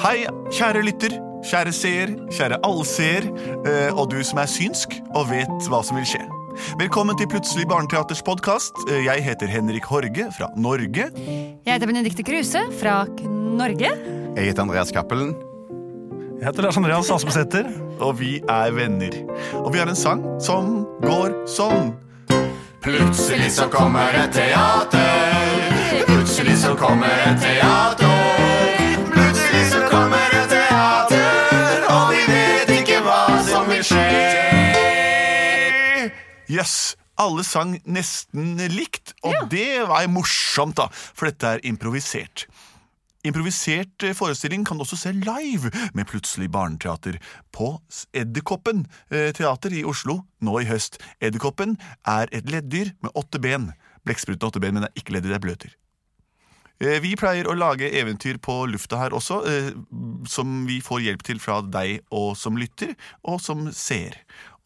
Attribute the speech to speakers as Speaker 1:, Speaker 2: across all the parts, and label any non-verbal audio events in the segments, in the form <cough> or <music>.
Speaker 1: Hei, kjære lytter, kjære seer, kjære allseer, eh, og du som er synsk og vet hva som vil skje. Velkommen til Plutselig barneteaters podkast. Jeg heter Henrik Horge fra Norge.
Speaker 2: Jeg heter Benedicte Kruse fra K- Norge.
Speaker 3: Jeg heter Andreas Cappelen.
Speaker 4: Jeg heter Lars Andreas Aspesæter.
Speaker 1: og vi er venner. Og vi har en sang som går sånn.
Speaker 3: Plutselig så kommer et teater. Plutselig så kommer et teater. Plutselig så kommer et teater, og vi vet ikke hva som vil skje.
Speaker 1: Yes! Alle sang nesten likt, og det var morsomt, da, for dette er improvisert. Improvisert eh, forestilling kan du også se live med Plutselig barneteater på S- Edderkoppen eh, teater i Oslo nå i høst. Edderkoppen er et leddyr med åtte ben. Blekkspruten har åtte ben, men det er ikke leddyr, det er bløtdyr. Eh, Vi pleier å lage eventyr på lufta her også, eh, som vi får hjelp til fra deg og som lytter, og som ser.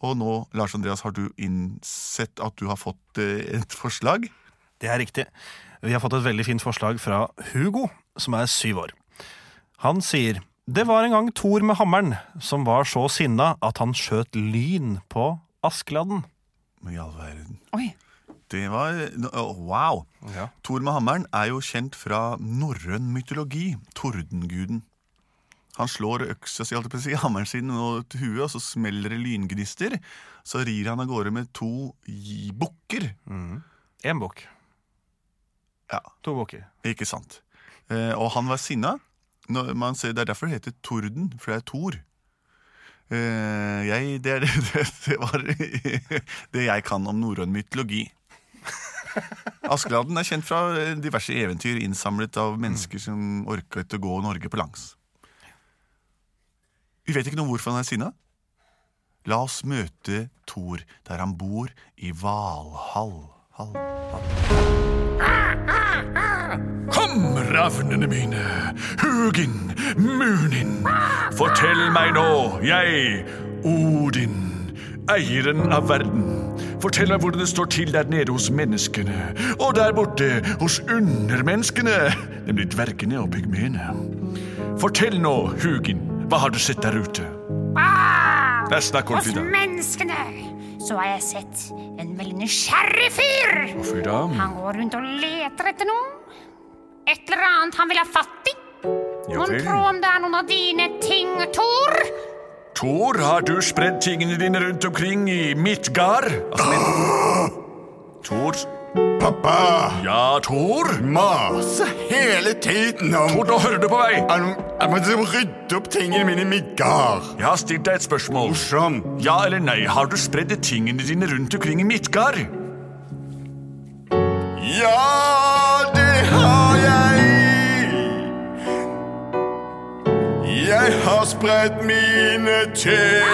Speaker 1: Og nå, Lars Andreas, har du innsett at du har fått eh, et forslag?
Speaker 4: Det er riktig. Vi har fått et veldig fint forslag fra Hugo, som er syv år. Han sier det var en gang Thor med hammeren som var så sinna at han skjøt lyn på Askeladden.
Speaker 1: Men I all verden.
Speaker 2: Oi.
Speaker 1: Det var å, Wow!
Speaker 4: Ja.
Speaker 1: Thor med hammeren er jo kjent fra norrøn mytologi, tordenguden. Han slår øksa si, holdt jeg på å si, <laughs> hammeren sin mot huet, og så smeller det lyngnister. Så rir han av gårde med to gi- bukker.
Speaker 4: Mm. Én bukk.
Speaker 1: Ja.
Speaker 4: To bukker.
Speaker 1: Ikke sant. Eh, og han var sinna. Når man ser, det er derfor det heter Torden, for det er Tor. Eh, jeg, det, er, <laughs> det, det var det jeg kan om norrøn mytologi. Askeladden er kjent fra eh, diverse eventyr innsamlet av mennesker som orket å gå Norge på langs. Vi vet ikke noe om hvorfor han er sinna. La oss møte Tor der han bor, i Valhall. Hall.
Speaker 5: Kom, ravnene mine, Hugin, Munin. Fortell meg nå, jeg, Odin, eieren av verden. Fortell meg hvordan det står til der nede hos menneskene, og der borte hos undermenneskene, nemlig dvergene og pygmeene. Fortell nå, Hugin, hva har du sett der ute? Det er snakk om
Speaker 6: Hos
Speaker 5: Frida.
Speaker 6: menneskene så har jeg sett en veldig nysgjerrig fyr.
Speaker 5: Frida,
Speaker 6: Han går rundt og leter etter noe. Et eller annet han vil ha fatt i.
Speaker 5: ja
Speaker 6: Mon
Speaker 5: vel.
Speaker 6: tro om det er noen av dine ting, Tor?
Speaker 5: Tor, har du spredd tingene dine rundt omkring i
Speaker 6: <gasps>
Speaker 5: Midgard? Altså, men... Tor?
Speaker 3: Pappa
Speaker 5: Ja, Tor?
Speaker 3: maser hele tiden om
Speaker 5: Tor, nå hører du på meg!
Speaker 3: Han- Jeg må liksom rydde opp tingene mine i miggar.
Speaker 5: Jeg har stilt deg et spørsmål.
Speaker 3: Morsom.
Speaker 5: Ja eller nei, har du spredd tingene dine rundt omkring i Midgard?
Speaker 3: Ja, det har jeg. Jeg har spredt mine ting.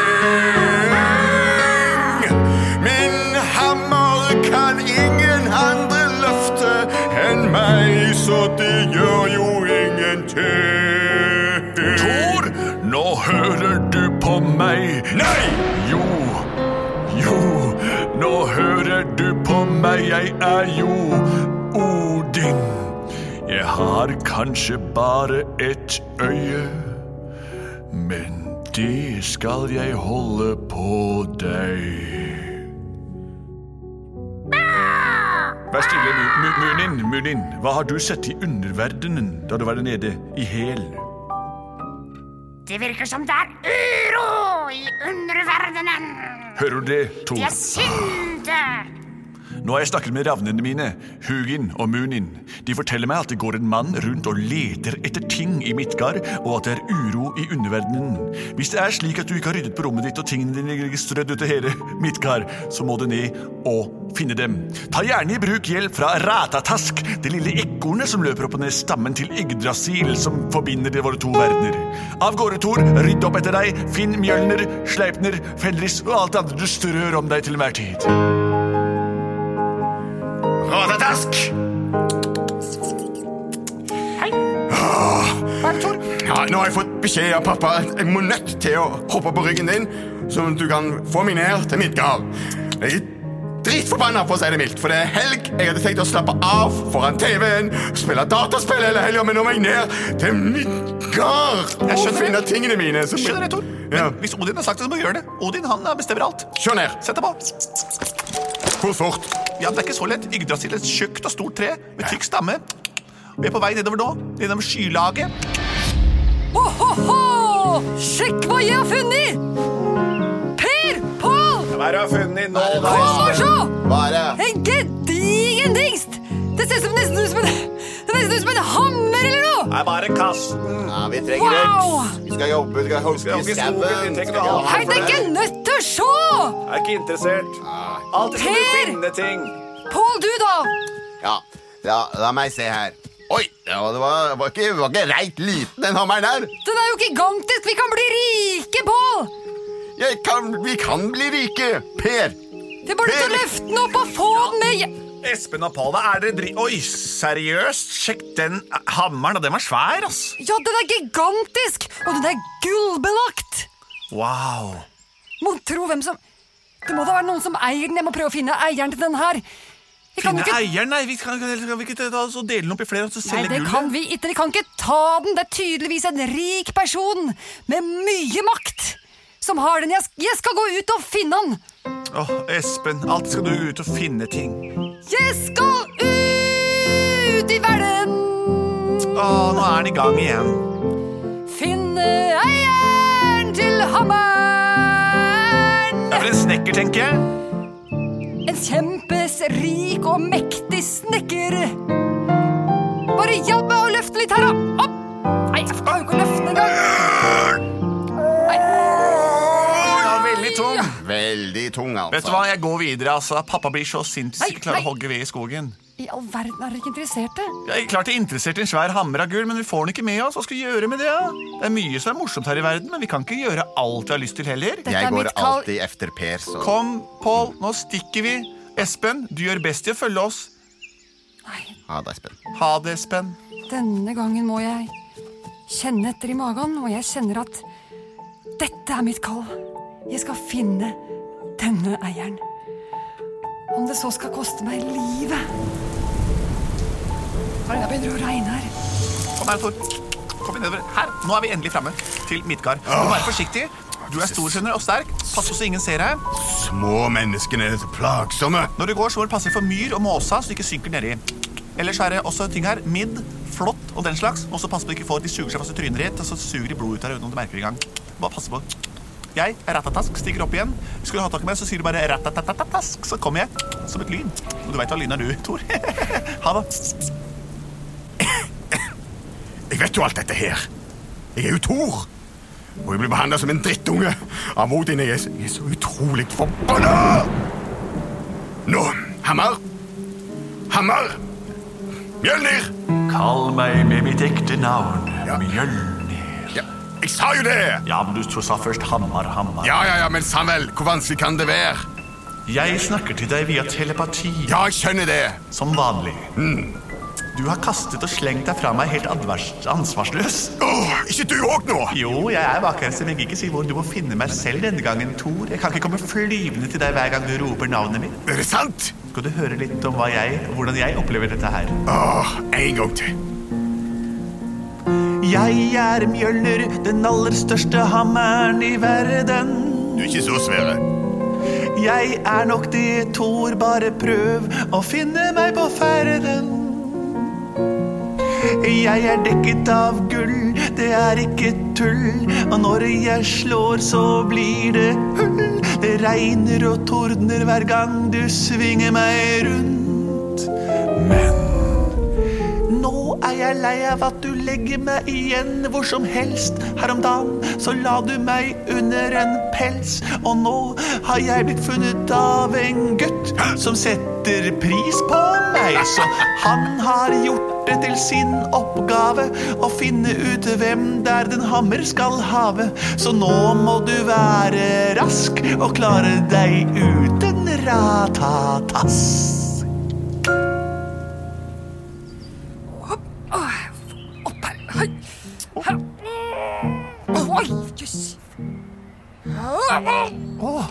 Speaker 3: Min hammer kan ingen andre løfte enn meg, så det gjør jo ingenting.
Speaker 5: Tor, nå hører du på meg.
Speaker 3: Nei!
Speaker 5: Jo, jo, nå hører du på meg. Jeg er jo Odin. Jeg har kanskje bare ett øye, men det skal jeg holde på deg. Vær stille, Mu- Mu- Munin. Munin, hva har du sett i underverdenen da du var der nede i hæl?
Speaker 6: Det virker som det er uro i underverdenen.
Speaker 5: Hører du det, Tor?
Speaker 6: De er sinte.
Speaker 5: Nå har jeg snakket med ravnene mine, Hugin og Munin. De forteller meg at det går en mann rundt og leter etter ting i Midgard, og at det er uro i underverdenen. Hvis det er slik at du ikke har ryddet på rommet ditt og tingene dine ligger strødd ut i hele Midgard, så må du ned og finne dem. Ta gjerne i bruk hjelp fra Ratatask, det lille ekornet som løper opp og ned stammen til Yggdrasil, som forbinder de våre to verdener. Av gårde, Thor, rydd opp etter deg, finn Mjølner, Sleipner, Fenris og alt det andre du strør om deg til enhver tid.
Speaker 3: Ratatask! Ah. Ja, nå har jeg fått beskjed av pappa. at Jeg må nødt til å hoppe på ryggen din, sånn at du kan få meg ned til Midgard. Jeg dritforbanna, for å si det mildt. For det er helg. Jeg hadde tenkt å slappe av foran TV-en, spille dataspill hele helga, men nå må jeg ned til Midgard
Speaker 1: Jeg
Speaker 3: og
Speaker 1: skjønner det.
Speaker 3: finne tingene mine. som-
Speaker 1: Skjønner jeg, Tor. Men
Speaker 3: Ja.
Speaker 1: hvis Odin har sagt det, så må du gjøre det. Odin han eh, bestemmer alt.
Speaker 3: Se ned.
Speaker 1: Sett deg på.
Speaker 3: Hvor fort?
Speaker 1: Ja, Det er ikke så lett. Yggdrasil er et tjukt og stort tre med tykk stamme. Vi er på vei nedover nå, gjennom skylaget.
Speaker 2: Ohoho! Sjekk hva jeg har funnet! Per! Pål!
Speaker 3: Hva er det du har funnet nå?
Speaker 2: Kom og se!
Speaker 3: Hva er det?
Speaker 2: En gedigen dingst! Det ser ut som nesten ut som en, det er nesten ut som en hammer eller noe!
Speaker 1: Nei, bare kast den.
Speaker 3: Ja, vi trenger
Speaker 2: Wow!
Speaker 3: øks. Vi skal jobbe, vi skal hogge
Speaker 1: hogge
Speaker 3: i
Speaker 1: skogen,
Speaker 3: skauen.
Speaker 1: vi trenger
Speaker 3: skal
Speaker 1: noe
Speaker 3: jobbe
Speaker 2: Hei,
Speaker 3: for
Speaker 2: det er ikke nødt til å se!
Speaker 1: Jeg er ikke interessert. Alltid
Speaker 2: skal du Per! finne
Speaker 1: ting.
Speaker 2: Pål, du da?
Speaker 3: Ja, la, la meg se her. Oi, ja, det var, var ikke, var ikke reit liten den hammeren der.
Speaker 2: Den er jo gigantisk! Vi kan bli rike, Pål!
Speaker 3: Jeg kan, vi kan bli rike, Per.
Speaker 2: Det er bare til å
Speaker 3: Per!
Speaker 2: løfte den opp og få den med!
Speaker 1: Espen og Paula, er dere dri... Oi, seriøst? Sjekk den eh, hammeren. da. Den var svær, ass.
Speaker 2: Ja, den er gigantisk! Og den er gullbelagt!
Speaker 1: Wow.
Speaker 2: Mon tro hvem som Det må da være noen som eier den. Jeg må prøve å finne eieren til den her. Jeg kan
Speaker 1: Finne
Speaker 2: jo ikke...
Speaker 1: eieren? Nei, vi kan, kan vi ikke ta oss og dele den opp i flere og så
Speaker 2: Nei,
Speaker 1: selge
Speaker 2: det
Speaker 1: gullet?
Speaker 2: kan vi ikke. Vi kan ikke ta den. Det er tydeligvis en rik person med mye makt som har den. Jeg, sk- jeg skal gå ut og finne han.
Speaker 1: Åh, Espen, alltid skal du ut og finne ting.
Speaker 2: Jeg skal ut i verden,
Speaker 1: Åh, nå er den i gang igjen.
Speaker 2: finne eieren til hammeren.
Speaker 1: Det er vel en snekker, tenker jeg.
Speaker 2: En kjempesrik og mektig snekker. Bare hjelp meg å løfte litt her, da. Opp! Nei, jeg klarer jo ikke å løfte engang.
Speaker 1: Ja, veldig tung.
Speaker 3: Veldig tung, altså.
Speaker 1: Vet du hva, jeg går videre, altså. Pappa blir så sint hvis
Speaker 2: Nei,
Speaker 1: jeg ikke klarer
Speaker 2: nei.
Speaker 1: å hogge ved i skogen.
Speaker 2: I all verden er dere ikke eh? interesserte?
Speaker 1: Jeg er klart jeg er interessert i en svær hammer av gull, men vi får den ikke med oss. Hva skal vi gjøre med det, da? Det er mye som er morsomt her i verden, men vi kan ikke gjøre alt vi har lyst til heller.
Speaker 2: Dette
Speaker 3: Jeg
Speaker 2: er
Speaker 3: går
Speaker 2: mitt kall.
Speaker 3: alltid efter Per, så
Speaker 1: Kom, Pål, nå stikker vi. Espen, du gjør best i å følge oss.
Speaker 2: Nei,
Speaker 3: ha deg, Espen.
Speaker 1: Ha det, Espen.
Speaker 2: denne gangen må jeg kjenne etter i magen, og jeg kjenner at dette er mitt kall. Jeg skal finne denne eieren. Om det så skal koste meg livet. Oi, Det begynner å regne her.
Speaker 1: Kom her, Tor. Kom inn nedover. Her. Nå er vi endelig framme til Midgard. Du må være forsiktig. Du er stor, skjønner du, og sterk. Pass på så ingen ser deg.
Speaker 3: Små menneskene er så plagsomme.
Speaker 1: Når du går, så må du passe for myr og måsa, så du ikke synker nedi. Ellers er det også ting her. Midd, flått og den slags. Må også passe på at de ikke får de suger seg fast i trynet ditt, og så suger de blod ut av deg uten at du merker det engang. Bare passe på. Jeg er ratatask, stikker opp igjen. Skulle du ha tak i meg, så sier du bare ratatatatask, så kommer jeg som et lyn. Og du veit hva lyn er du, Tor. <laughs> ha det.
Speaker 3: Jeg vet jo alt dette her. Jeg er jo Thor. Og jeg blir behandla som en drittunge av Odin. Jeg er så, jeg er så utrolig forbanna! Nå, hammer. Hammer. Mjølnir.
Speaker 5: Kall meg med mitt ekte navn,
Speaker 3: Ja.
Speaker 5: Mjølnir.
Speaker 3: Ja, jeg sa jo det!
Speaker 5: Ja, men du sa først Hammar, Hammar.
Speaker 3: Ja, ja, ja, men Samuel, hvor vanskelig kan det være?
Speaker 5: Jeg snakker til deg via telepati,
Speaker 3: Ja, jeg skjønner det.
Speaker 5: som vanlig.
Speaker 1: Du har kastet og slengt deg fra meg helt advers- ansvarsløs.
Speaker 3: Åh, ikke du òg nå?
Speaker 1: Jo, jeg er bakhelse, men jeg kan ikke si hvor du må finne meg selv denne gangen, Thor. Jeg kan ikke komme flyvende til deg hver gang du roper navnet mitt.
Speaker 3: Er det sant?
Speaker 1: Skal du høre litt om hva jeg, hvordan jeg opplever dette her?
Speaker 3: Åh, en gang til.
Speaker 1: Jeg er Mjøller, den aller største hammeren i verden.
Speaker 3: Du er ikke så svære.
Speaker 1: Jeg er nok det, Thor, bare prøv å finne meg på ferden. Jeg er dekket av gull, det er ikke tull. Og når jeg slår, så blir det hull. Det regner og tordner hver gang du svinger meg rundt. Men nå er jeg lei av at du legger meg igjen hvor som helst. Her om dagen så la du meg under en pels, og nå har jeg blitt funnet av en gutt som setter pris på meg, så han har gjort det til sin oppgave å finne ut hvem der den hammer skal have. Så nå må du være rask og klare deg uten ratatass.
Speaker 2: Åh, Opp her. Hei. Her. Oi, jøss.
Speaker 1: Åh,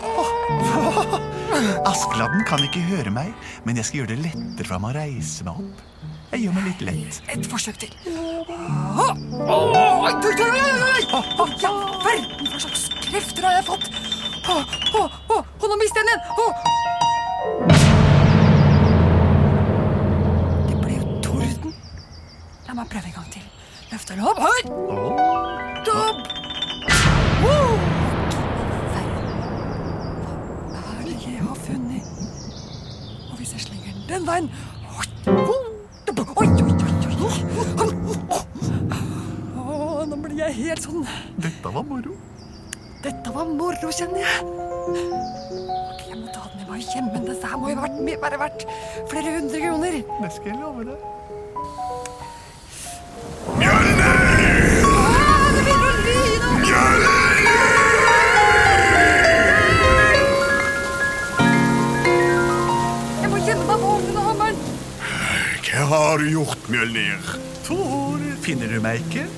Speaker 1: Askeladden kan ikke høre meg, men jeg skal gjøre det lettere for ham å reise meg opp. Jeg gjør meg litt lett.
Speaker 2: Et forsøk til. Å, å, oi, oi, oi, oi, oi. Å, ja, verden, hva slags krefter har jeg fått? Å, å, å, å, nå mister jeg den igjen! Å. Det ble jo torden. La meg prøve en gang til. Løfter den opp. Høy! Dobb! Wow! Verden, Hva er det jeg har funnet? Og hvis jeg slenger den den veien Oi, oi, oi, oi, oi. Å, nå blir jeg helt sånn
Speaker 1: Dette var moro.
Speaker 2: Dette var moro, kjenner jeg. Ok, jeg må ta den i meg og gjemme den. Dette her må jo ha vært mye- være verdt flere hundre kroner.
Speaker 1: Det skal jeg love deg.
Speaker 2: Ah, det begynner å lyne! Jeg må gjemme meg på ovnen og hammeren.
Speaker 3: Hva har du gjort, Mjølnir?
Speaker 1: Tor, finner du meg ikke?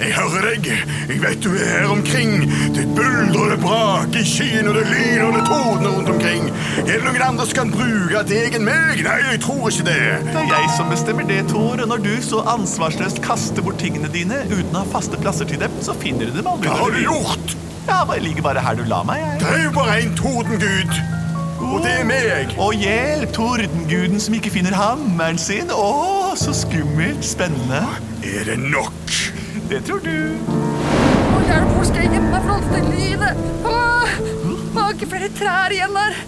Speaker 3: Jeg hører deg. Jeg vet du er her omkring. Det buldrer og det braker i skyen, og det lyner og det tordner rundt omkring. Er det noen andre som kan bruke deg enn meg? Nei, jeg tror ikke det.
Speaker 1: Det er jeg som bestemmer det, Tor. Og når du så ansvarsløst kaster bort tingene dine uten å ha faste plasser til dem, så finner du dem aldri.
Speaker 3: Hva har
Speaker 1: når
Speaker 3: du
Speaker 1: vil.
Speaker 3: gjort?
Speaker 1: Ja, bare ligger bare her du la meg, jeg.
Speaker 3: Det er jo bare en tordengud. Og det er meg.
Speaker 1: Og hjelp, tordenguden som ikke finner hammeren sin. Å, så skummelt. Spennende.
Speaker 3: Er det nok?
Speaker 1: Det tror du.
Speaker 2: Å, hjelp, hvor skal jeg gjemme meg for alt det lynet? Åh, Jeg har ikke flere trær igjen her.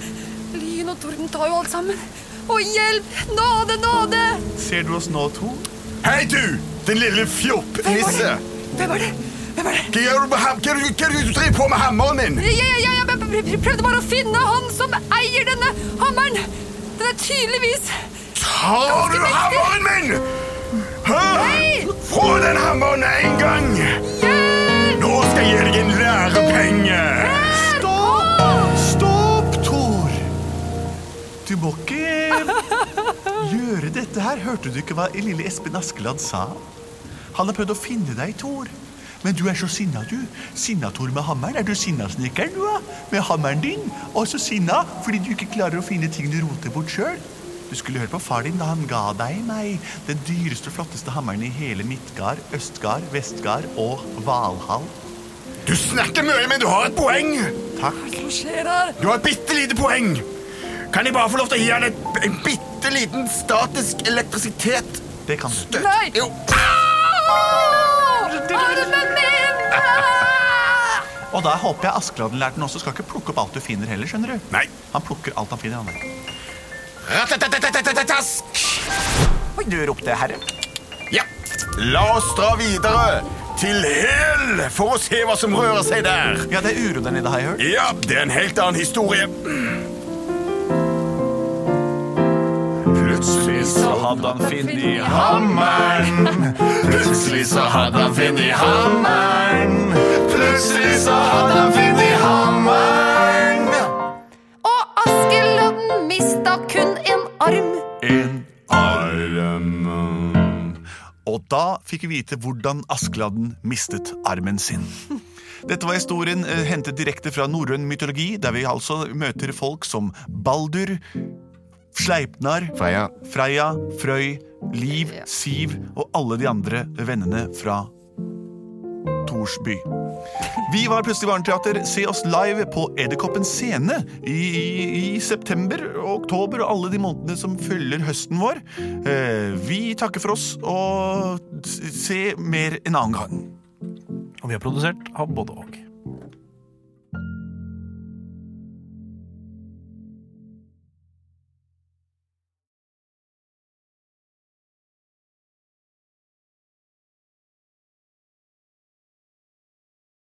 Speaker 2: Lyn og torden tar jo alt sammen. Å, hjelp! Nåde, nåde!
Speaker 1: Ser du oss nå, Tor?
Speaker 3: Hei, du! Din lille fjopp-nisse.
Speaker 2: Hvem er det? Hvem er det?
Speaker 3: Hva gjør du med ham- hva er det du- hva er det du driver på med hammeren min?
Speaker 2: Jeg, jeg, jeg, jeg pr- pr- prøvde bare å finne han som eier denne hammeren. Den er tydeligvis
Speaker 3: Tar du hammeren min? Hæ? Få den hammeren med en gang.
Speaker 2: Hjelp!
Speaker 3: Nå skal jeg gi deg en lærepenge.
Speaker 1: Stopp! Stopp, Tor! Du må ikke gjøre dette her. Hørte du ikke hva lille Espen Askeland sa? Han har prøvd å finne deg, Tor. Men du er så sinna, du. Sinna-Tor med hammeren. Er du sinnasnekkeren, du, da? Med hammeren din? Og så sinna fordi du ikke klarer å finne ting du roter bort sjøl. Du skulle hørt på far din da han ga deg meg den dyreste og flotteste hammeren i hele Midtgard, Østgard, Vestgard og Valhall.
Speaker 3: Du snakker mye, men du har et poeng.
Speaker 1: Takk.
Speaker 2: Hva skjer her?
Speaker 3: Du har et bitte lite poeng. Kan jeg bare få lov til å gi han et, en bitte liten statisk elektrisitet?
Speaker 1: Det kan du.
Speaker 3: Dødt.
Speaker 2: Nei.
Speaker 3: Jo.
Speaker 2: Au! Armen min! Ah!
Speaker 1: Og der håper jeg Askeladden-lærten også skal ikke plukke opp alt du finner heller, skjønner du?
Speaker 3: Nei.
Speaker 1: Han plukker alt han finner, han der.
Speaker 3: Ratatatatatatatask.
Speaker 1: Oi, du ropte, herre.
Speaker 3: Ja. La oss dra videre til Hel for å se hva som rører seg der.
Speaker 1: Ja, det er uro der nede, har jeg hørt.
Speaker 3: Ja, det er en helt annen historie. Plutselig så hadde han funnet hammeren. Plutselig så hadde han funnet hammeren. Plutselig så hadde han funnet hammeren.
Speaker 7: Og Askeladden mista kun en arm.
Speaker 1: En.
Speaker 3: Armen.
Speaker 1: Og da fikk vi vite hvordan Askeladden mistet armen sin. Dette var historien eh, hentet direkte fra norrøn mytologi, der vi altså møter folk som Baldur, Sleipnar,
Speaker 3: Freya.
Speaker 1: Freya, Frøy, Liv, Siv og alle de andre vennene fra Torsby. Vi var Plutselig barneteater. Se oss live på Edderkoppens scene i, i, i september og oktober og alle de månedene som følger høsten vår. Eh, vi takker for oss, og s- se mer en annen gang.
Speaker 4: Og vi har produsert av både og.